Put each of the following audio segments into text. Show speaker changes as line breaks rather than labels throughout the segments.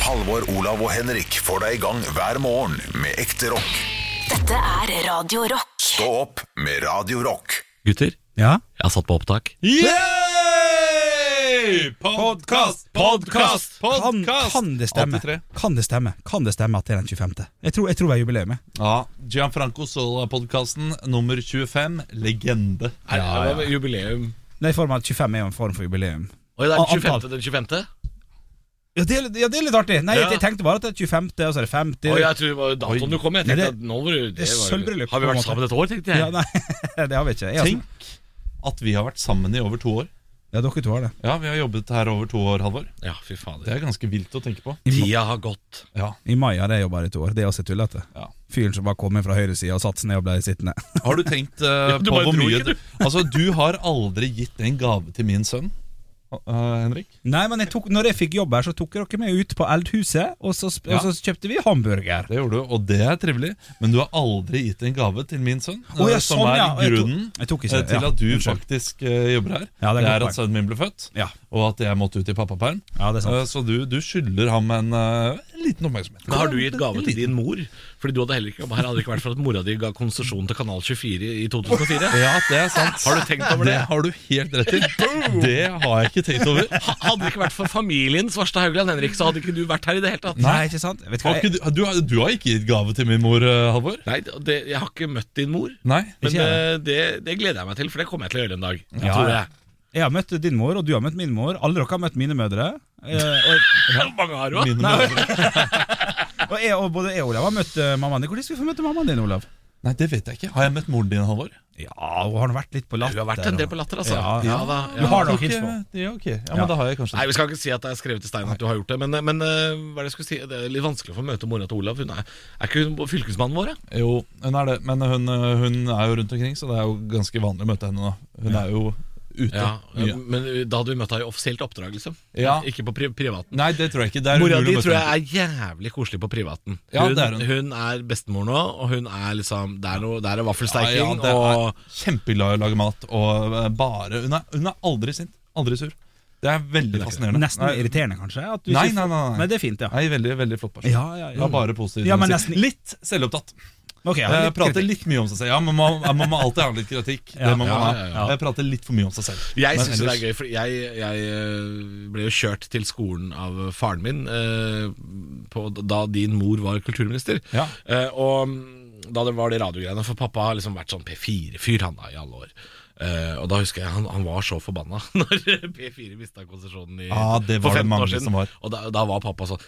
Halvor, Olav og Henrik får deg i gang hver morgen med ekte rock.
Dette er Radio Rock.
Stå opp med Radio Rock.
Gutter,
Ja.
jeg har satt på opptak.
Podkast!
Podcast!
Kan, kan det stemme? Kan det stemme Kan det stemme at det er den 25.? Jeg tror, jeg tror det er jubileet.
Ja, Gianfranco Sola-podkasten nummer 25. Legende.
Er, er det jubileum?
Nei, form av 25 er jo en form for jubileum.
Oi, det er den
Antall.
25. Den 25.
Ja, det er, litt- ja, det er litt artig. Nei,
Ja.
jeg, jeg tenkte bare at det er 25., og så er det 50.
Oi, jeg tror det var
Oi.
datoen du kom. Jeg
Nei,
tenkte
det-
at nå var det,
det er
var-
sølvbryllup,
Har vi
på en
vært
måte.
sammen et år, tenkte jeg.
ja, nei, det har vi ikke. Jeg, har sånn-
Tenk at vi har vært sammen i over to år.
ja, dere to har det.
Ja, Vi har jobbet her over to år, Halvor.
ja, fy fader.
Det er ganske vilt å tenke på.
I, ma-
Tida har gått.
Ja.
I mai har jeg jobba her i to år. Det er også tullete.
Ja.
Fyren som bare kom inn fra høyresida og satte seg ned og ble sittende.
Har du tenkt eh,
du
på
bare
hvor
dro
mye
ikke,
du Altså, du har aldri gitt en gave til min sønn, eh, Henrik.
Nei, men jeg tok, når jeg fikk jobb her, så tok dere meg ut på Eldhuset, og så, sp-
Ja.
og så kjøpte vi hamburger.
Det gjorde du, og det er trivelig, men du har aldri gitt en gave til min sønn.
Å, ja,
eh, som
sånn,
er
ja. Jeg tok-
grunnen
jeg tok ikke-
eh, til
ja,
at du
unnskyld.
faktisk eh, jobber her.
Ja, det er
det
godt
er
poeng.
at sønnen min ble født,
Ja.
og at jeg måtte ut i pappaperm.
Ja, det er sant.
Eh, Så du, du skylder ham en eh, liten oppmerksomhet.
Men Har du gitt gave til din mor? Fordi du hadde heller ikke, Her hadde det ikke vært for at mora di ga konsesjon til Kanal 24 i 2004.
Ja, det er sant.
Har du tenkt over det?
har du helt rett i. Det har jeg ikke tenkt over.
Ha- Hadde det ikke vært for familien Svarstad Haugland Henrik, så hadde ikke du vært her i det hele tatt.
Nei, ikke sant? Vet du hva,
Har ikke
jeg,
du, du, har- du har ikke gitt gave til min mor, eh, Halvor?
Nei, det, jeg har ikke møtt din mor.
Nei.
Men
Ikke
det,
jeg.
det, det gleder jeg meg til, for det kommer jeg til å gjøre en dag.
Ja,
tror
ja.
jeg.
jeg har møtt din mor, og du har møtt min mor. Alle dere har møtt mine mødre. Eh, og
Hvor mange har du? da?
Mine mødre.
Og, jeg, og både jeg og Olav har møtt eh, mammaen din. Hvordan skal vi få møte mammaen din, Olav?
Nei, det vet jeg ikke. Har jeg møtt moren din, Halvor?
Ja, hun har nå vært litt på latter.
Du har vært en del på latter, altså.
Ja, ja.
da,
Du har
Ja,
nok hilst på.
ok. Ja, ok. Ja, men da har jeg kanskje
Nei, Vi skal ikke si at det er skrevet i stein at du har gjort det, men, men eh, hva er det jeg skulle si? Det er litt vanskelig for å møte mora til Olav. Hun er, er ikke hun fylkesmannen vår? Ja?
Jo, hun er det. Men hun, eh, hun er jo rundt omkring, så det er jo ganske vanlig å møte henne nå. Hun er jo ute
Ja,
mye.
Eh, Men da hadde vi møtt henne i offisielt oppdrag, liksom.
Ja.
Ikke på pri privaten.
Nei, det tror jeg ikke. Det er
Mora
umulig
di
å møte
tror
henne.
jeg er jævlig koselig på privaten.
Ja, det er hun.
hun er bestemor nå, og hun er liksom Det er, noe, det er
Ja, ja,
vaffelsteiking
det er
og
kjempeglad i å lage mat og eh, bare Hun er, hun er aldri sint. Aldri sur. Det er veldig fascinerende.
Nesten
Nei,
irriterende, kanskje? At du
Nei,
sier-
nei, nei, nei.
Men det er fint, ja.
nei, veldig, veldig flott person.
Ja, ja,
Det
ja.
er bare positivt.
Ja, men
hun sier.
nesten-
Litt selvopptatt.
Ok, ja,
Jeg
litt
prater
kritikk.
litt mye om seg selv. Ja, Man må, man må alltid ha litt kritikk.
Ja,
det må man
ja,
ha.
ja,
ja.
Jeg prater litt for mye om seg selv.
Jeg
Men
syns det
ellers-
er gøy, for jeg, jeg eh, ble jo kjørt til skolen av faren min eh, på, da din mor var kulturminister.
Ja.
Eh, og mm, da det var de radiogreiene, for pappa har liksom vært sånn P4-fyr han da i alle år. Eh, og da husker jeg han, han var så forbanna når P4 mista konsesjonen i-
Ja, Ah, det var
for
det
15
mange
år siden.
som var.
Og da, da var pappa sånn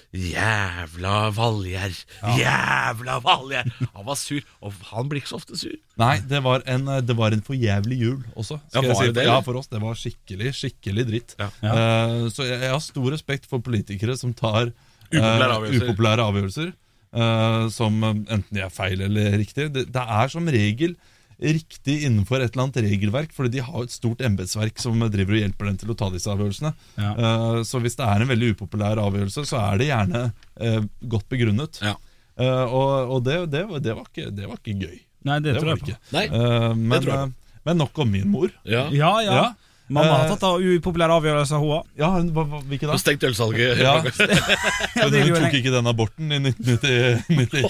Jævla Valgjerd! Jævla Valgjerd! Han var sur, og han blir ikke så ofte sur.
Nei, det var en, eh, det var en forjævlig jul også.
Ja,
skal jeg
var
si.
det det,
ja,
eller?
for oss. Det var skikkelig, skikkelig dritt.
Ja.
Eh, så jeg, jeg har stor respekt for politikere som tar eh,
Upopulære avgjørelser.
upopulære avgjørelser, eh, som eh, enten de er feil eller riktig. Det, det er som regel riktig innenfor et eller annet regelverk, fordi de har et stort embetsverk som driver og hjelper dem til å ta disse avgjørelsene. Eh, så hvis det er en veldig upopulær avgjørelse, så er det gjerne eh, godt begrunnet.
Ja.
Eh, og og det, det, var- det, var ikke, det var ikke gøy.
Nei, det,
Det
tror
var
jeg
det
på.
ikke.
Nei,
Eh, men,
tror jeg.
eh, men nok om min mor.
ja.
Ja, ja.
Ja.
Mamma har
Eh,
tatt av upopulære avgjørelser, hun òg.
Ja, hun- hva- hva- Hvilken da?
Og stengt ølsalget.
Ja.
Ja,
Men
det
hun
gjorde
tok
jeg.
ikke den aborten i 1990.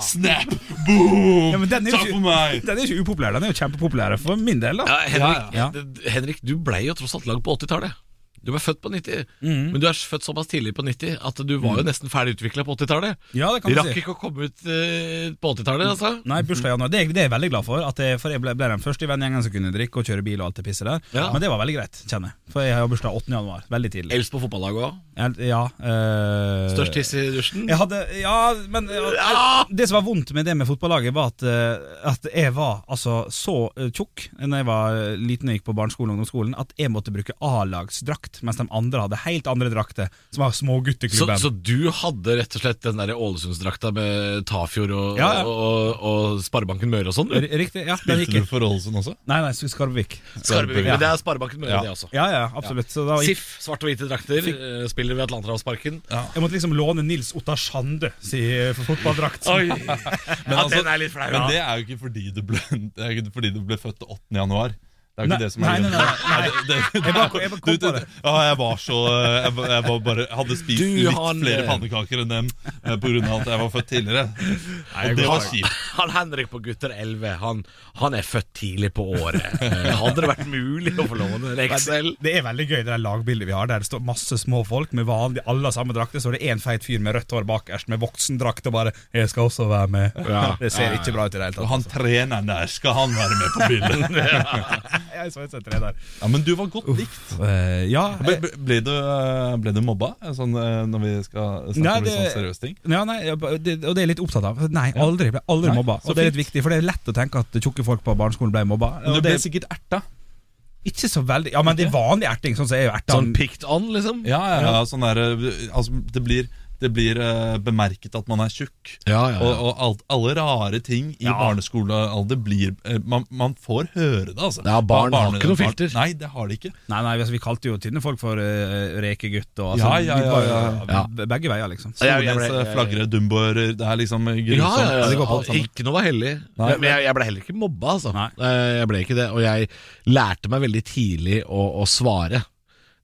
Snap!
Ja,
Boom!
men den er jo
Takk
ikke-
for meg!
Den er ikke upopulær, den er jo kjempepopulær for min del, da.
Ja, Henrik,
Ja, ja.
det- Henrik, du ble jo tross alt laget på 80-tallet. Du ble født på 90,
Mm.
men du er født såpass tidlig på 90 at du var jo nesten ferdig utvikla på 80-tallet.
Ja, det
Du
Mm. kan du
rakk
si.
ikke å komme ut eh, på 80-tallet, altså.
Nei, bursdag i januar. Det, er- det er jeg veldig glad for. At jeg, for jeg ble, ble den første i vennegjengen som kunne drikke og kjøre bil og alt det pisset der.
Ja.
Men det var veldig greit, kjenner jeg. For jeg har jo bursdag 8. januar. Veldig tidlig.
Eldst på fotballaget òg.
Jeg, ja, eh,
Størst tiss i dusjen. Ah!
Jeg hadde, ja, men ja, Det som var vondt med det med fotballaget, var at, eh, at jeg var altså, så eh, tjukk Når jeg var eh, liten og gikk på barneskolen og ungdomsskolen, at jeg måtte bruke A-lagsdrakt, mens de andre hadde helt andre drakter, som var
Så,
smågutteklubben.
så du hadde rett og slett den der Ålesundsdrakta med Tafjord og,
Ja, ja.
og, og, og Sparebanken Møre og sånn?
R-
du?
Riktig. Ja, den
Spilte
gikk
du for Ålesund også?
Nei, nei, Skarvvik.
Skarvevik,
Ja.
Men det er Sparebanken Møre,
Ja.
det også.
Ja, ja, absolutt. Så da gikk,
SIF, svart og hvite drakter, eh, spiller ved Atlanterhavsparken.
jeg måtte liksom låne Nils Ottar Sande si, for fotballdrakt.
Oi! ja,
altså-
den er litt flau.
Men
ja.
det er jo ikke fordi du ble, det er jo ikke fordi du ble født 8. januar. Det er jo ikke
Nei,
det som er
nei, nei, nei, nei.
det- det-
Jeg bare- jeg bare kom
du- du-
på det.
Ja, jeg var så eh, Jeg, var- jeg var bare, hadde spist
Du,
litt
han-
flere pannekaker enn dem eh, På grunn av at jeg var født tidligere. Og det var kjipt.
Han Henrik på Gutter 11 han, han er født tidlig på året. Eh, Hadde det vært mulig å få låne en XL?
Det er veldig gøy, det der lagbildet vi har, der det står masse små folk med vanlig alle har samme drakter. Så er det én feit fyr med rødt hår bakerst med voksendrakt og bare 'Jeg skal også være med'.
Ja.
Det ser ikke bra ut i det hele tatt.
Og han treneren der, skal han være med på bildet?
Jeg så et sett det der.
Ja, Men du var godt likt.
Eh, ja,
Ble, ble, ble, du, eh, ble du mobba eh, sånn, eh, når vi skal snakke
Nei,
om litt
det-
sånn seriøse ting?
Ja, nei, jeg ba- det, og det er jeg litt opptatt av. Nei, aldri. Ble aldri
Nei,
mobba.
så
Og det er litt
fint.
viktig, for det er lett å tenke at tjukke folk på barneskolen ble mobba.
Men
Og
du
det
ble
er
sikkert erta.
ikke så veldig Ja, men det er vanlig erting. Sånn som er jo erta.
Sånn picked on, liksom?
Ja, ja, ja, sånn der, eh, altså, det blir, det blir eh, bemerket at man er tjukk.
Ja, ja, ja.
Og, og alt, alle rare ting i barneskolealder blir eh, man, man får høre det, altså.
Ja, barn
Barne-
har ikke noe
barn-
filter.
Nei, det har de ikke.
Nei, nei, altså, vi kalte jo tynne folk for eh, rekegutt og altså,
Ja, ja,
vi
ja,
var jo-
ja.
Ja.
be- Begge veier, liksom.
Ja, jeg- jeg
Nordnes
ble- jeg-
flagrer, dumboer, eh, det er liksom grusomt.
Ja, ja,
Det
ja,
går på alt
Al-
sammen.
Ikke noe var hellig.
Nei.
men jeg, jeg ble heller ikke mobba, altså.
Nei.
Eh, Jeg ble ikke det, og jeg lærte meg veldig tidlig å, å svare.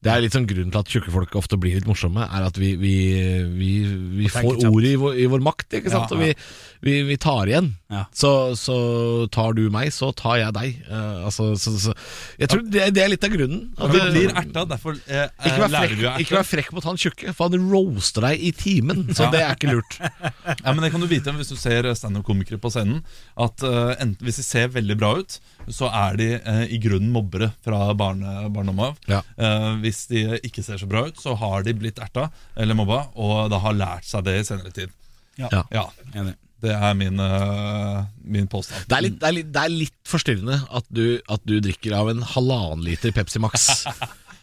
Det er litt sånn grunnen til at tjukke folk ofte blir litt morsomme, er at vi, vi, vi, vi
tenker
får
kjapt.
ordet i vår, i vår makt, ikke sant?
Ja,
Og vi, vi, vi tar igjen.
Ja.
Så, så tar du meg, så tar jeg deg. Eh, altså, så, så. Jeg tror det, det er litt av grunnen. At
Vi
det-
blir erta, derfor eh,
ikke vær,
lærer
frekk,
vi å erte.
ikke vær frekk mot han tjukke, for han roaster deg i timen. Så det er ikke lurt.
Ja, men det kan du vite hvis du ser standup-komikere på scenen. At eh, enten Hvis de ser veldig bra ut, så er de eh, i grunnen mobbere fra barne, barndommen av.
Ja.
Eh, hvis de ikke ser så bra ut, så har de blitt erta eller mobba, og da har lært seg det i senere tid.
Ja.
Ja.
Ja,
Enig.
Det er min, eh, min påstand.
Det er litt, det er litt, det er litt forstyrrende at du, at du drikker av en halvannen liter Pepsi Max.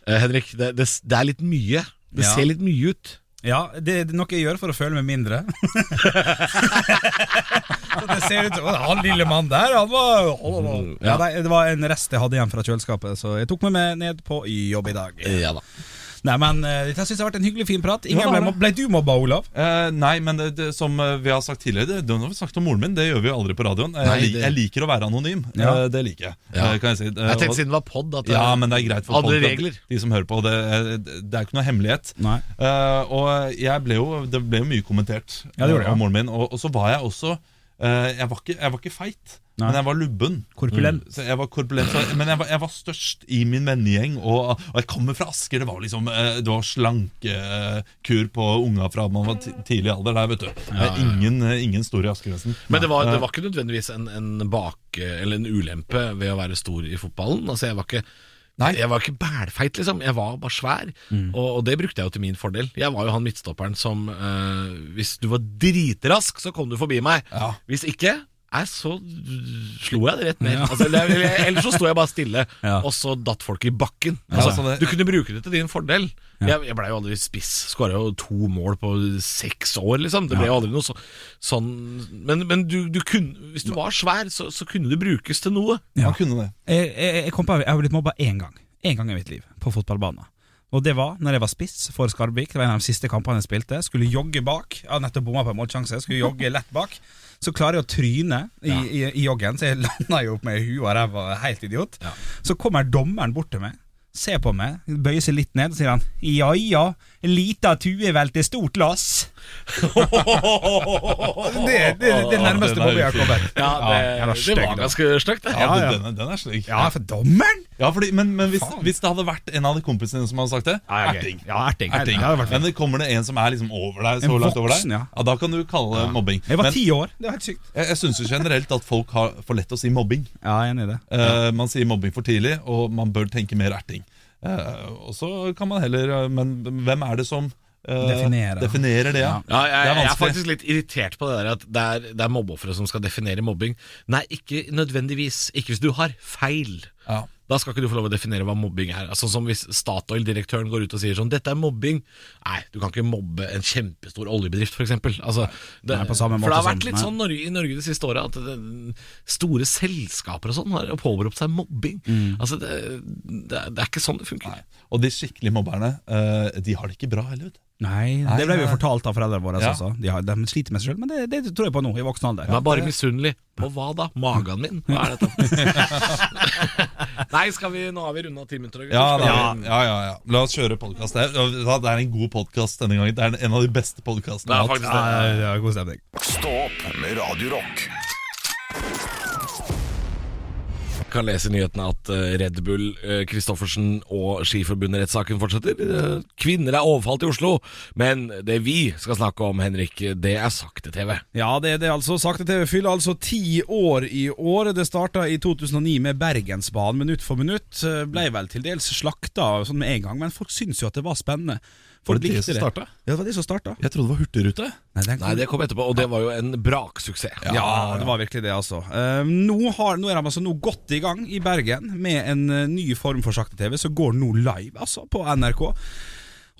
Eh, Henrik, det, det, det er litt mye. Det
Ja.
ser litt mye ut.
Ja, det er noe jeg gjør for å føle meg mindre. Så det ser ut som «Å, Han lille mannen der, han var
Mm,
ja, nei, Det var en rest jeg hadde igjen fra kjøleskapet, så jeg tok med meg ned på jobb i dag.
Eh, Ja da.
Nei, men eh, Dette syns jeg har vært en hyggelig, fin prat.
Ja,
Ingen
det
ble,
har
mobb- ble du mobba, Olav?
Eh, nei, men det, det, som eh, vi har sagt tidligere det, det, Nå har vi snakket om moren min, det gjør vi jo aldri på radioen. Jeg,
Nei,
lik-
det-
jeg liker å være anonym.
Ja.
Eh, det liker jeg.
Ja.
eh, kan jeg si. Eh,
Jeg
og-
tenkte siden det var pod at det,
Ja, men det er greit for
Andre
folk,
regler.
De som hører på, det, er- det er ikke noe hemmelighet.
Nei.
Eh, og jeg ble jo, det ble jo mye kommentert
Ja, det gjorde det,
eh, om
ja.
moren min. Og, og så var jeg også eh, jeg, var ikke, jeg var ikke feit,
Nei.
men jeg var lubben.
Mm.
Mm,
Korpulent.
Så jeg var korpulent, så, men jeg var, jeg var størst i min vennegjeng. Og, og jeg kommer fra Asker. Det var liksom eh, Det var slankekur på unga fra man var ti- tidlig alder der, vet du. Det er Ingen, eh, ingen store i Askergrensen.
Men det var, det var ikke nødvendigvis en, en bak... Eller en ulempe ved å være stor i fotballen. Altså, jeg var ikke
Nei. Mm.
Jeg var ikke bælfeit, liksom. Jeg var bare svær. Og, og det brukte jeg jo til min fordel. Jeg var jo han midtstopperen som eh, Hvis du var dritrask, så kom du forbi meg.
Ja.
Hvis ikke Nei, så slo jeg det rett ned. Altså, eller- eller- ellers så sto jeg bare stille,
Ja.
og så datt folk i bakken.
Ja,
Altså,
sånn det-
du kunne bruke det til din fordel. Jeg, jeg blei jo aldri spiss. Skåra jo to mål på seks år, liksom. Det ble jo aldri noe så, sånn Men, men du, du kunne, hvis du var svær, så, så kunne du brukes til noe.
Ja.
Ja. Eh, Man kunne det.
Jeg, jeg, jeg kom på jeg har blitt mobba én gang. Én gang i mitt liv, på fotballbanen. Og det var når jeg var spiss for Skarbik. Det var en av de siste kampene jeg spilte. Skulle jogge bak. Jeg hadde nettopp bomma på en målsjanse. Skulle jogge lett bak. Så klarer jeg å tryne i, i, i joggen, så jeg landa jo opp med huet og ræva, helt idiot. Så kommer dommeren bort til meg, ser på meg, bøyer seg litt ned, og sier han ja ja, lita tue vel til stort lass. Det, det, det er det nærmeste
Ja, den er
mobba jeg har
ufin.
kommet.
Ja,
jævla
det, det
stygg,
var
da.
ganske stygt, det.
Ja,
Ja, ja.
Den, er- den er slik.
Ja, for dommeren!
Ja, fordi, men, men hvis,
Faen. Ah,
hvis det hadde vært en av de kompisene dine som hadde sagt det,
Ja, ja, gøy.
erting.
Ja, erting.
Erting.
Ja, det hadde vært
men det kommer det en som er liksom over deg, så
En
langt over deg,
voksen,
ja.
ja.
da kan du kalle det mobbing.
Jeg var
Men
ti år. Det var helt sykt.
jeg, jeg syns jo generelt at folk har for lett å si mobbing.
Ja, jeg er enig i det.
Eh, man sier mobbing for tidlig, og man bør tenke mer erting. Eh, og så kan man heller eh, Men hvem er det som eh,
Definerer.
definerer det? Ja.
Ja, jeg,
det er
jeg er
vanskelig.
faktisk litt irritert på det der at det er, det er mobbeoffere som skal definere mobbing. Nei, ikke nødvendigvis. Ikke hvis du har feil.
Ja.
Da skal ikke du få lov å definere hva mobbing er. Altså som Hvis Statoil-direktøren går ut og sier sånn 'dette er mobbing', nei, du kan ikke mobbe en kjempestor oljebedrift, f.eks. Altså, det-
Nei, på samme
for det
måte
har vært
som-
litt
nei.
sånn Norge, i Norge det siste året at det, store selskaper og sånn har påberopt seg mobbing.
Mm.
Altså, det, det, er- det er ikke sånn det funker.
Nei. Og de skikkelig mobberne, eh, de har det ikke bra heller. vet du.
Nei, det ble vi jo fortalt av foreldrene våre
Ja.
også. De, har, de sliter med seg sjøl, men det, det tror jeg på nå, i voksen alder.
Jeg er bare misunnelig. På hva da? Magen min? Hva er dette? Nei, skal vi, nå har vi runda ti minutter. gutter.
Ja,
Skal vi-
ja, ja, ja, ja. La oss kjøre podkast. Det, er- det er en god podkast denne gangen. Det er en av de beste
Det er
podkastene jeg har hatt.
faktisk det.
ja, god stemning.
Stå opp med Radio Rock.
kan lese i nyhetene at eh, Red Bull, eh, Kristoffersen og Skiforbundet-rettssaken fortsetter. Eh, Kvinner er overfalt i Oslo, men det vi skal snakke om, Henrik, det er sakte TV.
Ja, det er det altså. Sakte TV fyller altså ti år i år. Det starta i 2009 med Bergensbanen minutt for minutt. Eh, Blei vel til dels slakta sånn med en gang, men folk syntes jo at det var spennende. Folk
det det
likte
som starta?
Ja, det var det som starta.
Jeg trodde det var Hurtigrute.
Nei,
Nei,
den kom-
det kom etterpå, og det var jo en braksuksess.
ja, det var virkelig det, altså. Eh, nå, har, nå er de altså nå godt i gang i Bergen med en eh, ny form for sakte-TV, som går nå live altså på NRK.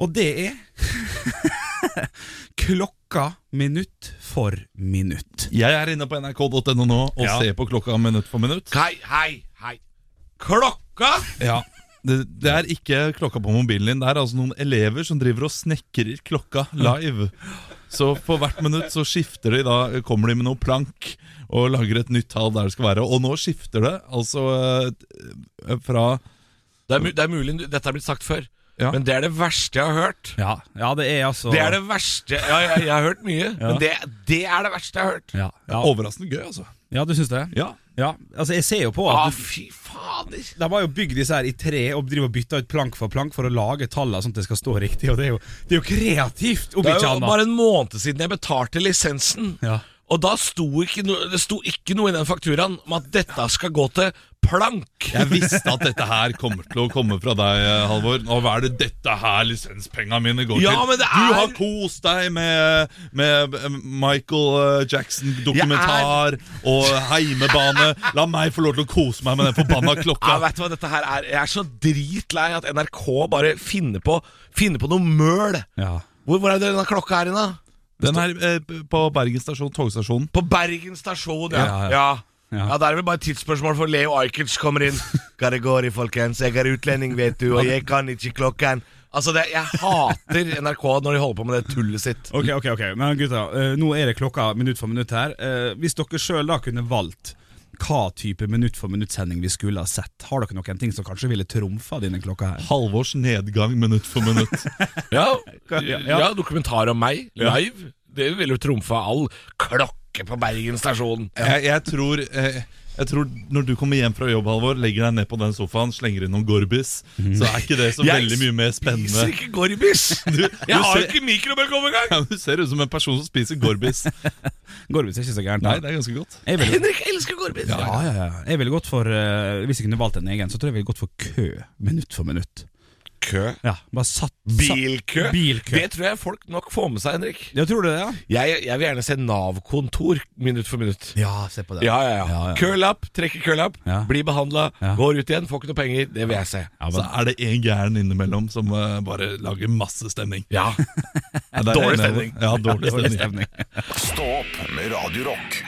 Og det er klokka minutt for minutt.
Jeg er inne på nrk.no nå og
Ja.
ser på klokka minutt for minutt.
Hei, hei, hei. Klokka!
Ja det, det er ikke klokka på mobilen din. Det er altså noen elever som driver og snekrer klokka live. Så for hvert minutt så skifter de da kommer de med noe plank og lager et nytt tall der det skal være. Og nå skifter det altså eh, fra
Det er, mu det er mulig dette er blitt sagt før,
Ja.
men det er det verste jeg har hørt.
Ja, ja det er altså
Det er det verste Ja, jeg, jeg har hørt mye, men det, det er det verste jeg har hørt.
Ja, ja.
Overraskende gøy, altså.
Ja, du syns det?
Ja.
Ja, altså jeg ser jo på
Å,
at
Ah, fy fader.
de har jo bygd disse her i tre og driver og bytter ut plank for plank for å lage tallene sånn at det skal stå riktig, og det er jo, det er jo kreativt! Om
Det er
ikke
jo
annet.
bare en måned siden jeg betalte lisensen.
Ja.
Og da sto ikke no, det sto ikke noe i den fakturaen om at dette skal gå til plank.
Jeg visste at dette her kommer til å komme fra deg, eh, Halvor. Nå hva er det dette her lisenspengene mine går
Ja,
til.
men det
Du
er-
har kost deg med, med eh, Michael eh, Jackson-dokumentar og heimebane. La meg få lov til å kose meg med den forbanna
Ja,
klokka.
vet du hva dette her er? Jeg er så dritlei at NRK bare finner på, finner på noe møl.
Ja.
Hvor, hvor er det denne klokka er inne?
Den er eh, på Bergen stasjon, togstasjonen.
På Bergen stasjon, ja.
Ja, ja.
Ja, ja.
Ja.
Da er det vel bare et tidsspørsmål for Leo Ajkic kommer inn. Hva det går i, folkens? Jeg er utlending, vet du, og jeg kan ikke klokken. Altså, det, Jeg hater NRK når de holder på med det tullet sitt.
Ok, ok, ok, men gutta, eh, nå er det klokka minutt for minutt her. Eh, Hvis dere sjøl da kunne valgt hva type minutt for minutt-sending vi skulle ha sett, har dere noen ting som kanskje ville trumfa denne klokka her?
Halvors nedgang minutt for minutt.
Ja,
ja.
ja dokumentar om meg live. Det ville jo trumfa all klokke på Bergen stasjon.
Jeg, jeg, tror, eh, jeg tror når du kommer hjem fra jobb, Halvor, legger deg ned på den sofaen, slenger inn noen gorbis, så er ikke det så
Mm. Jeg
veldig mye mer spennende.
Spiser ikke gorbis!
du
Jeg har
ser-
jo ikke mikrobølgeovn engang!
Ja, Du ser ut som en person som spiser gorbis.
Gorvis er ikke så gærent.
Nei, det er ganske godt.
Jeg ville,
Henrik elsker gorbis!
ja, ja, ja. Jeg ville gått for eh, Hvis jeg kunne valgt en egen, så tror jeg jeg ville gått for kø minutt for minutt.
Kø.
Ja, bare satt satt-
Bilkø.
Bilkø.
Det tror jeg folk nok får med seg, Henrik.
Ja, tror du det, ja?
Jeg, jeg vil gjerne se Nav-kontor minutt for minutt.
Ja, se på det.
Ja, ja, ja.
Ja, ja.
Kølapp, trekker kølapp,
Ja.
blir behandla,
Ja.
går ut igjen, får ikke noe penger. Det vil jeg se.
Så er det en gæren innimellom som eh, bare lager masse stemning.
Ja.
Ja, det er
Dårlig
en-
stemning.
Ja, dårlig stemning.
Stå opp med Radio Rock.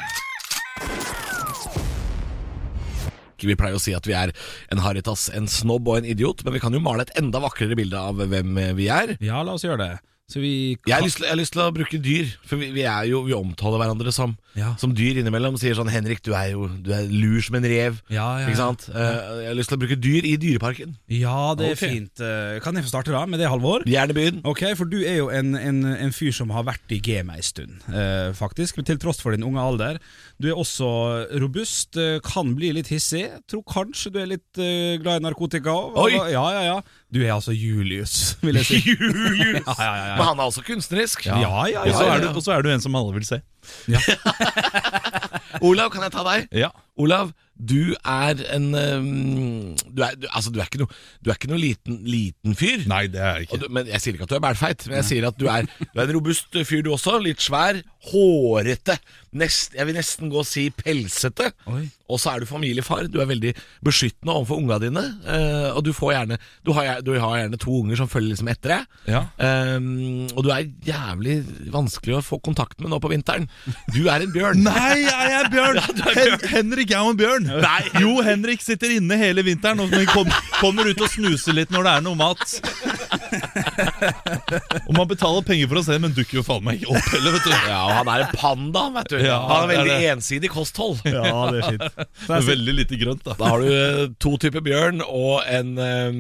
Vi pleier å si at vi er en haritas, en snobb og en idiot, men vi kan jo male et enda vakrere bilde av hvem vi er.
Ja, la oss gjøre det. Så vi
Jeg har, lyst til, jeg har lyst til å bruke dyr, for vi, vi, er jo, vi omtaler hverandre som,
Ja.
som dyr innimellom. Sier sånn 'Henrik, du er jo du er lur som en rev'.
Ja, ja,
Ikke sant? Eh, jeg har lyst til å bruke dyr i Dyreparken.
Ja, det er
Ok.
fint. Eh, Kan jeg få starte da, med det, Halvor?
Gjerne byen.
Ok, for du er jo en, en, en fyr som har vært i gamet en stund, eh, faktisk. Til tross for din unge alder. Du er også robust, eh, kan bli litt hissig. Tror kanskje du er litt eh, glad i narkotika òg.
Oi!
Ja, ja, ja. Du er altså Julius, vil jeg si.
Julius!
Ja, ja, ja, ja.
Men han er også kunstnerisk.
Ja, ja, ja.
Og så er,
ja.
du- og så er du en som alle vil se.
Olav, kan jeg ta deg?
Ja.
Olav, du er en eh, du er, du, Altså, du er ikke noe, du er ikke noe liten, liten fyr.
Nei, det er jeg
Og
ikke.
du, men Jeg sier ikke at du er bælfeit, men jeg sier at du er, du er en robust fyr du også. Litt svær, hårete, nest, jeg vil nesten gå og si pelsete.
Oi.
Og så er du familiefar. Du er veldig beskyttende overfor unga dine. eh, og du, får gjerne, du, har, gjer- du har gjerne to unger som følger liksom etter deg.
Ja.
Eh, og du er jævlig vanskelig å få kontakt med nå på vinteren. Du er en bjørn.
Nei, jeg er Bjørn! Hen Henrik er jo en bjørn.
Nei.
Jo, Henrik sitter inne hele vinteren og men kom, kommer ut og snuser litt når det er noe mat. Og man betaler penger for å se, men dukker jo faen meg ikke opp heller, vet du.
Ja, og han er en panda, vet du.
Ja,
han er
det er
veldig
det.
ensidig kosthold.
Ja, det er fint. Så jeg,
Veldig lite grønt, da.
Da har du eh, to typer bjørn og en, eh,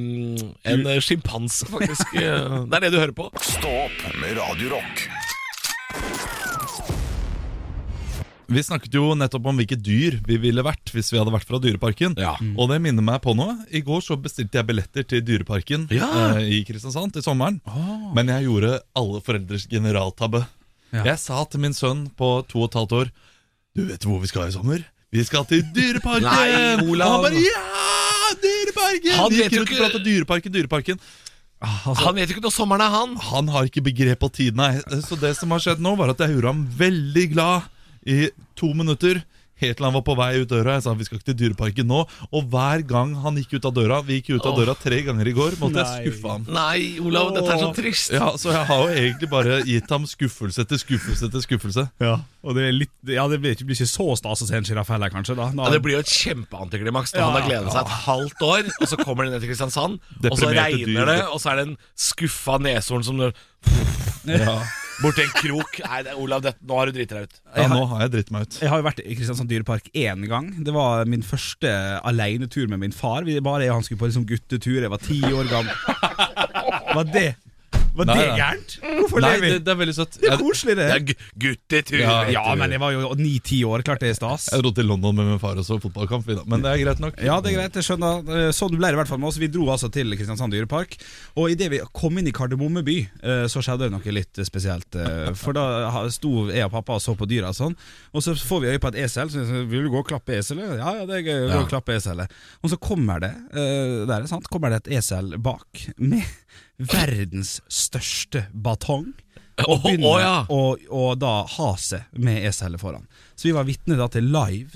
en eh, sjimpanse, faktisk. Eh, Det er det du hører på.
Stå opp med Radio Rock.
Vi snakket jo nettopp om hvilke dyr vi ville vært hvis vi hadde vært fra Dyreparken.
Ja. Mm.
Og det minner meg på noe. I går så bestilte jeg billetter til Dyreparken
Ja. Ah.
eh, i Kristiansand til sommeren. Men jeg gjorde alle foreldres generaltabbe.
Ja.
Jeg sa til min sønn på to og et halvt år Du vet hvor vi skal i sommer? Vi skal til Dyreparken!
Nei, Olav.
Og han bare Ja! Dyreparken!
Han
Han
vet
gikk
jo ikke-
rundt og
Ah, altså,
pratet Dyreparken, Dyreparken.
Han vet jo ikke når sommeren er, han.
Han har ikke begrep på tid, nei. Så det som har skjedd nå, var at jeg gjorde ham veldig glad i to minutter. Helt til han var på vei ut døra. Jeg sa vi skal ikke til Dyreparken nå. Og hver gang han gikk ut av døra, vi gikk ut av døra tre ganger i går, måtte
Nei.
jeg skuffe ham.
Nei, Olav, dette er så trist.
Ja, Så jeg har jo egentlig bare gitt ham skuffelse etter skuffelse etter skuffelse.
ja, og det, er litt, ja, det blir ikke, blir ikke så stas å se en sjiraff heller, kanskje. Da. Nå-
Ja, det blir jo et kjempeantiklimaks når han har gleda seg et halvt år, og så kommer den ned til Kristiansand, og så
Deprimerte
regner
dyr.
det, og så er det en skuffa neshorn som
Ja,
borti en krok. Nei, det, Olav, det, nå har du driti deg ut.
ja nå har jeg dritt meg ut.
Jeg har jo vært i Kristiansand dyrepark én gang. Det var min første alenetur med min far. Vi bare jeg og han skulle på liksom guttetur. Jeg var ti år gammel. Var det Var
Nei,
det
nei.
gærent? Hvorfor
Nei,
lever
det,
vi?
det er veldig søtt.
Det er
Jeg,
koselig, det.
Det er gu- guttetur.
Ja.
Ja, men jeg var jo ni-ti år. Klart det er stas.
jeg dro til London med min far og så fotballkamp, vi da, men det er greit nok.
Ja, det er greit, jeg skjønner Eh, Sånn ble det i hvert fall med oss Vi dro altså til Kristiansand dyrepark Og i det vi kom inn i Kardemomme by eh, Så skjedde det noe litt spesielt eh, For da ha- sto jeg og pappa og så på dyra og sånn Og så får vi øye på et esel Så jeg sier, vil du gå og klappe eselet? Ja, ja, det er gøy Gå og klappe eselet Og så kommer det eh, Der er sant Kommer det et esel bak Med verdens største batong og
Å,
begynner
å, ja.
å, å da ha seg med eselet foran. Så vi var vitne da til live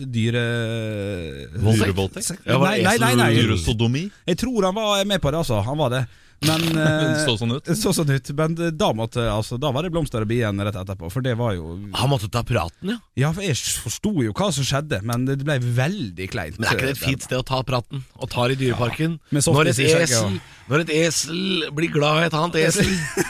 dyre...
Dyrevoldtekt?
Ja, nei, nei, nei, nei.
Dyresodomi?
Jeg tror han var med på det, altså. Han var det. Men eh,
Så sånn ut.
så sånn ut. Men eh, da, måtte, altså, da var det blomster og bien rett etterpå, for det var jo
Han måtte ta praten, ja.
Ja, for jeg forsto jo hva som skjedde, men det ble veldig kleint. eh,
Men er ikke det et fint sted å ta praten? Og tar i Dyreparken?
med softis
når, et
i skjegget
esel,
og-
når et esel blir glad i et annet esel,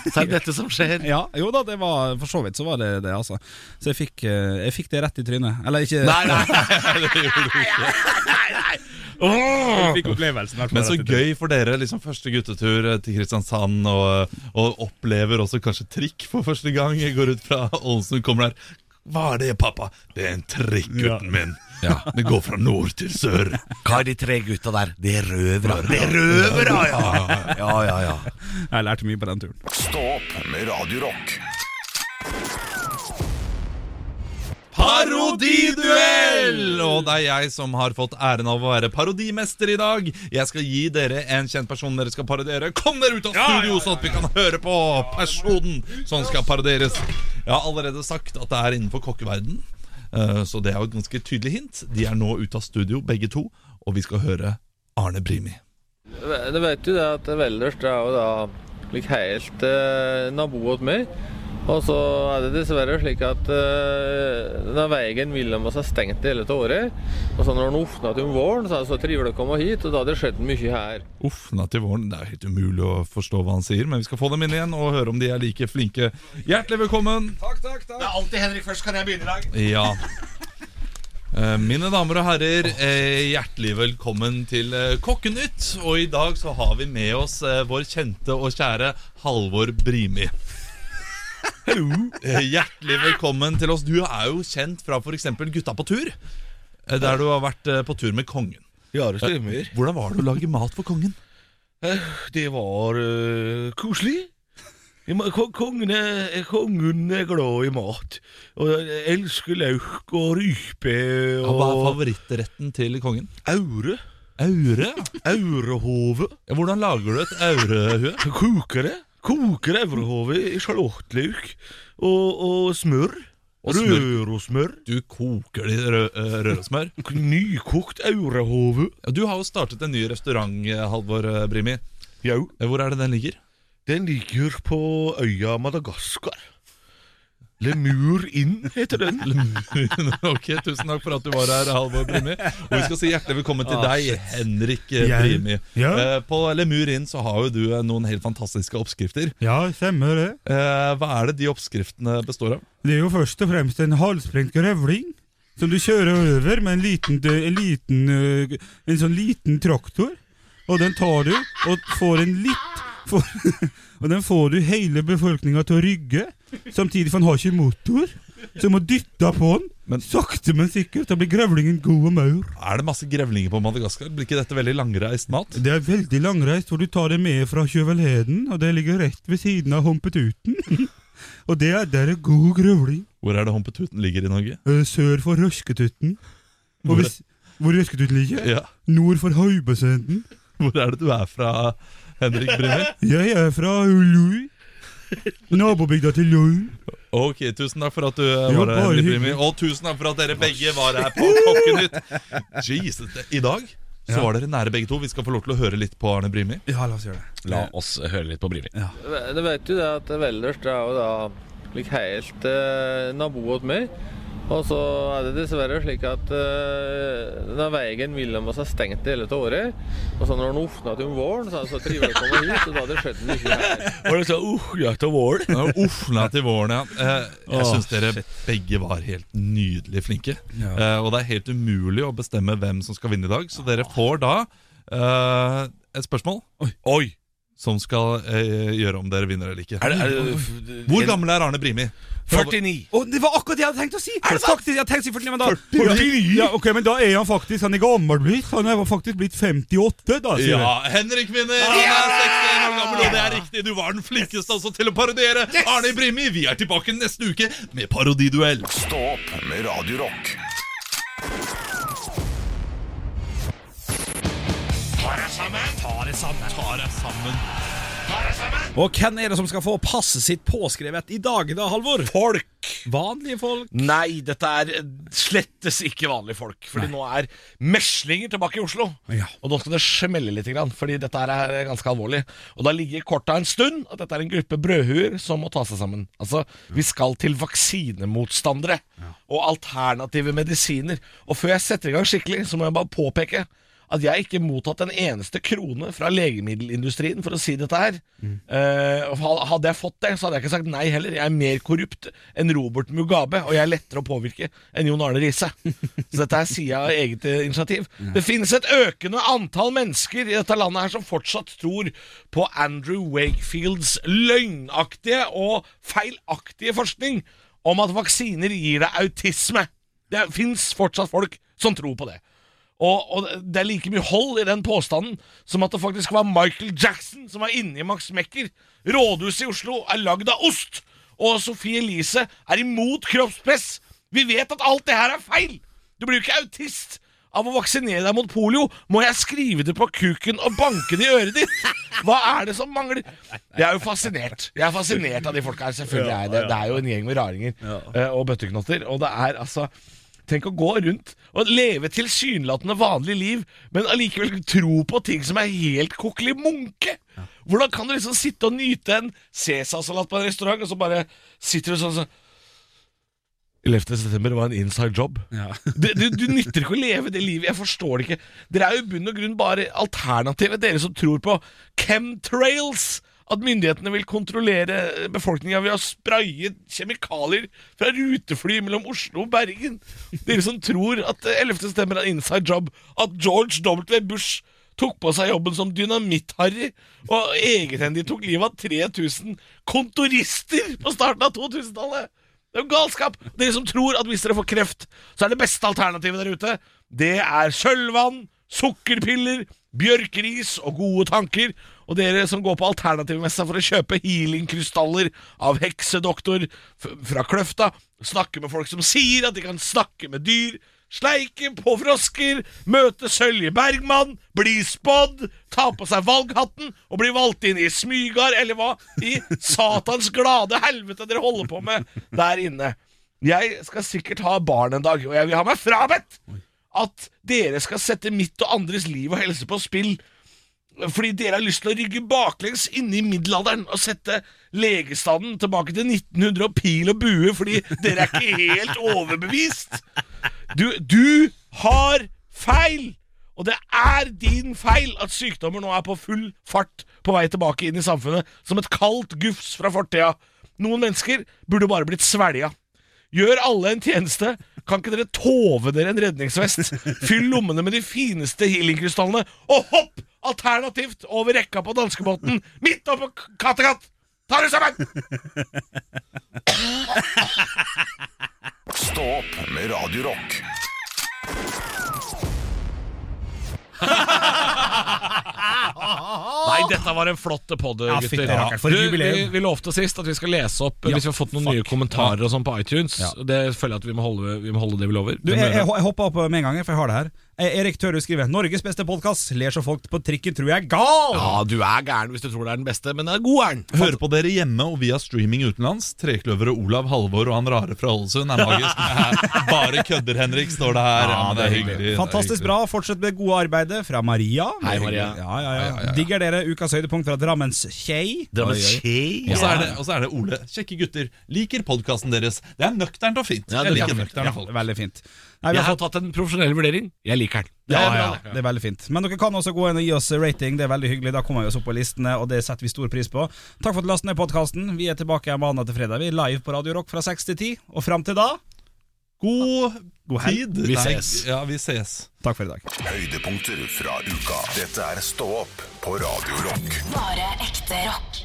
så er det dette som skjer.
Ja, jo da, det var for så vidt så var det det, altså. Så jeg fikk, eh, jeg fikk det rett i trynet. Eller ikke
Nei, nei, nei, nei. Åh.
Fikk opplevelsen, i hvert fall,
Men så
rett i trynet.
gøy for dere, liksom første guttetur eh, til Kristiansand, og, eh, og opplever også kanskje trikk for første gang. Jeg går ut fra Ålesund, kommer der. Hva er det, pappa? Det er en trikk, gutten min. Det går fra nord til sør.
Hva er de tre gutta der? Det er røvere. Det er røvere, ja! Ja, ja, ja.
Jeg lærte mye på den turen.
Stå opp med Radio Rock.
Parodiduell! Og det er jeg som har fått æren av å være parodimester i dag. Jeg skal gi dere en kjent person dere skal parodiere. Kom dere ut av studio, sånn at vi kan høre på personen som skal parodieres. Jeg har allerede sagt at det er innenfor kokkeverden eh, så det er jo et ganske tydelig hint. De er nå ute av studio, begge to, og vi skal høre Arne Brimi.
Eh, Det vet jo det at Velders det er jo da like helt eh, nabo åt meg. Og så er det dessverre slik at eh, denne veien mellom oss er stengt hele av året. Og så når den åpner til om våren, så er det så trivelig å komme hit, og da har det skjedd mye her.
Uff, natt til våren. Det er jo helt umulig å forstå hva han sier, men vi skal få dem inn igjen og høre om de er like flinke. Hjertelig velkommen!
Det er alltid Henrik først. Kan jeg begynne i dag?
Ja. Eh, Mine damer og herrer, eh, hjertelig velkommen til eh, Kokkenytt. Og i dag så har vi med oss eh, vår kjente og kjære Halvor Brimi. Eh, Hjertelig velkommen til oss. Du er jo kjent fra f.eks. Gutta på tur. eh, Der du har vært eh, på tur med kongen. Eh,
Ja, det stemmer.
Hvordan var det å lage mat for kongen?
Det var eh, koselig. Jeg må- ko- Kongen er, kongen er glad i mat. Og jeg elsker lauk og rype
Ja, Hva er
og
favorittretten til kongen?
aure.
Aure?
Aurehove.
Ja, Hvordan lager du et aurehue?
Koker det. Koker aurehove i sjalottløk og, og smør.
Og smør.
Rørosmør.
Du koker det i rø eh, rørosmør.
Nykokt aurehove.
Ja, Du har jo startet en ny restaurant, eh, Halvor eh, Brimi.
Jau.
Eh, Hvor er det den ligger?
Den ligger på øya Madagaskar. Lemur inn, heter den.
ok, Tusen takk for at du var her, Halvor Brimi. Og vi skal si hjertelig velkommen til deg, Henrik eh,
Jeg?
Brimi.
Ja.
Eh, På Lemur inn så har jo du eh, noen helt fantastiske oppskrifter.
Ja, stemmer det.
Eh, Hva er det de oppskriftene består av?
Det er jo først og fremst en halvsprengt grevling. Som du kjører over med en liten, en liten øh, En sånn liten traktor. Og den tar du, og får en litt får, Og den får du hele befolkninga til å rygge. Samtidig, for han har ikke motor. Så du må dytte på den.
Men-
Sakte, men sikkert. Da blir grevlingen god og maur.
Er det masse grevlinger på Madagaskar? Blir ikke dette veldig langreist mat?
Det er veldig langreist, hvor du tar det med fra Kjøvelheden. Og det ligger rett ved siden av Humpetuten. og det er der er god grevling.
Hvor er det Hompetuten ligger i Norge?
Eh, sør for Røsketutten.
Hvor-
Og hvis, hvor Røsketutten ligger?
Ja.
Nord for Haubesenden.
Hvor er det du er fra, Henrik Brimi?
Jeg er fra Lui. Nabobygda til Lui.
Ok, tusen takk for at du eh, var
Jo,
her,
bare
Henrik
hyggelig.
Brimi. Og tusen takk for at dere begge var her på Kokkenytt. Jesus, det- I dag så var dere nære begge to. Vi skal få lov til å høre litt på Arne Brimi.
Ja, la oss gjøre det.
La oss høre litt på Brimi.
Du vet jo det at Valdres det er jo da like helt eh, naboet meg. Og så er det dessverre slik at eh, denne veien mellom oss er stengt hele til året. Og så når den åpna til om våren, så er det så trivelig å komme hit. Og da hadde det skjedd den ikke her.
Var det så, uh, ja, til våren?
Ja, Uff, nei, til våren, ja. Eh, Jeg
Åh,
syns dere begge var helt nydelig flinke. Eh,
Ja.
Og det er helt umulig å bestemme hvem som skal vinne i dag, så dere får da eh, et spørsmål
Oi!
som skal eh, gjøre om dere vinner eller ikke.
Er det, er det,
Hvor gammel er Arne Brimi?
49.
Å, det var akkurat det jeg hadde tenkt å si! Faktisk, jeg hadde tenkt å si 49, men da
Ja, ok, men da er han faktisk Han er gammel blitt. Han er faktisk blitt 58, da, sier jeg.
Ja, Henrik vinner! Han er 61 år gammel, og det er riktig. Du var den flinkeste altså til å parodiere. Arne Brimi, vi er tilbake neste uke med parodiduell.
Stå opp med Radio Rock.
Og hvem er det som skal få passet sitt påskrevet i dag, da, Halvor?
Folk!
Vanlige folk.
Nei, dette er slettes ikke vanlige folk. Fordi nå er meslinger tilbake i Oslo.
Ja.
Og nå skal det smelle litt, grann, fordi dette her er ganske alvorlig. Og da ligger korta en stund at dette er en gruppe brødhuer som må ta seg sammen. Altså, vi skal til vaksinemotstandere og alternative medisiner. Og før jeg setter i gang skikkelig, så må jeg bare påpeke at jeg ikke har mottatt en eneste krone fra legemiddelindustrien for å si dette her.
Mm.
Eh, og ha- hadde jeg fått det, så hadde jeg ikke sagt nei heller. Jeg er mer korrupt enn Robert Mugabe, og jeg er lettere å påvirke enn Jon Arne Riise. Så dette her sier jeg av eget eh, initiativ. Det finnes et økende antall mennesker i dette landet her som fortsatt tror på Andrew Wakefields løgnaktige og feilaktige forskning om at vaksiner gir deg autisme. Det fins fortsatt folk som tror på det. Og, og det er like mye hold i den påstanden som at det faktisk var Michael Jackson som var inne i Max Mekker. Rådhuset i Oslo er lagd av ost, og Sophie Elise er imot kroppspress. Vi vet at alt det her er feil! Du blir jo ikke autist av å vaksinere deg mot polio. Må jeg skrive det på kuken og banke det i øret ditt? Hva er det som mangler? Jeg er jo fascinert. Jeg er fascinert av de folka her. Selvfølgelig er jeg det. Det er jo en gjeng med raringer eh, og bøtteknotter. Og det er altså Tenk å gå rundt og leve tilsynelatende vanlig liv, men allikevel tro på ting som er helt kokkelig munke. Hvordan kan du liksom sitte og nyte en cæsarsalat på en restaurant, og så bare sitter du sånn sånn 11. september var en inside job. Du, du, du nytter ikke å leve det livet. Jeg forstår det ikke. Dere er jo i bunn og grunn bare alternativet, dere som tror på chemtrails. At myndighetene vil kontrollere befolkninga ved å spraye kjemikalier fra rutefly mellom Oslo og Bergen. Dere som tror at eh, 11. stemmer er en inside job. At George W. Bush tok på seg jobben som dynamitt-harry og egenhendig tok livet av 3000 kontorister på starten av 2000-tallet. Det er jo galskap! Dere som tror at hvis dere får kreft, så er det beste alternativet der ute, det er sølvvann, sukkerpiller, bjørkeris og gode tanker. Og dere som går på alternativmessa for å kjøpe healingkrystaller av heksedoktor f- fra Kløfta, snakke med folk som sier at de kan snakke med dyr, sleike på frosker, møte Sølje Bergman, bli spådd, ta på seg valghatten og bli valgt inn i Smygard, eller hva i satans glade helvete dere holder på med der inne. Jeg skal sikkert ha barn en dag, og jeg vil ha meg frabedt at dere skal sette mitt og andres liv og helse på spill Fordi dere har lyst til å rygge baklengs inn i middelalderen og sette legestanden tilbake til 1900 og pil og bue fordi dere er ikke helt overbevist. Du, du har feil! Og det er din feil at sykdommer nå er på full fart på vei tilbake inn i samfunnet, som et kaldt gufs fra fortida. Noen mennesker burde bare blitt svelga. Gjør alle en tjeneste. Kan ikke dere tove dere en redningsvest? Fyll lommene med de fineste healingkrystallene, og hopp alternativt over rekka på danskebåten midt oppå K- Kattegat! Ta dere sammen!
Stå opp med Radio Rock.
Nei, dette var en flott podd,
Ja, fytti
gutter.
rakkeren, for et
Du, vi,
jubileum.
vi lovte sist at vi skal lese opp hvis vi har fått noen nye kommentarer og sånn på iTunes. Det føler jeg at vi må holde, vi må holde det vi lover.
Du,
Det må
jeg,
gjøre.
jeg, jeg hopper opp med en gang, for jeg har det her. Eh, Erik Tørud skriver 'Norges beste podkast'. Ler så folk på trikken tror jeg er gal!
ja, du er gæren hvis du tror det er den beste, men det er god er den.
Høre på dere hjemme og via streaming utenlands. Trekløver og Olav Halvor og han rare fra Ålesund er magisk. Bare kødder, Henrik, står det her. Ja, men det er hyggelig. det er
Fantastisk
hyggelig.
bra. Fortsett med det gode arbeidet fra Maria.
Hei, Maria.
Ja, ja, ja. Digger dere ukas høydepunkt fra Drammens Kjei?
Drammen
Oi, oi.
Kjei.
Og så er, det- og så er det Ole. Kjekke gutter. Liker podkasten deres. Det er nøkternt og fint.
Ja,
Jeg
det er
liker
fint.
nøkterne
Ja,
folk.
veldig fint. Nei, vi
Jeg
har
har
fått
tatt en profesjonell vurdering. Jeg liker den.
ja, ja, det er veldig fint. Men dere kan også gå inn og gi oss rating. Det er veldig hyggelig. Da kommer vi oss opp på listene, og det setter vi stor pris på. Takk for at du lastet ned podkasten. Vi er tilbake igjen mandag til fredag. Vi er live på Radio Rock fra 6 til 10. Og fram til da,
God, tid.
Vi
Nei,
ses.
Ja, vi ses.
takk for i dag.
Høydepunkter fra uka. Dette er Stå opp på Radio Rock.
Bare ekte rock.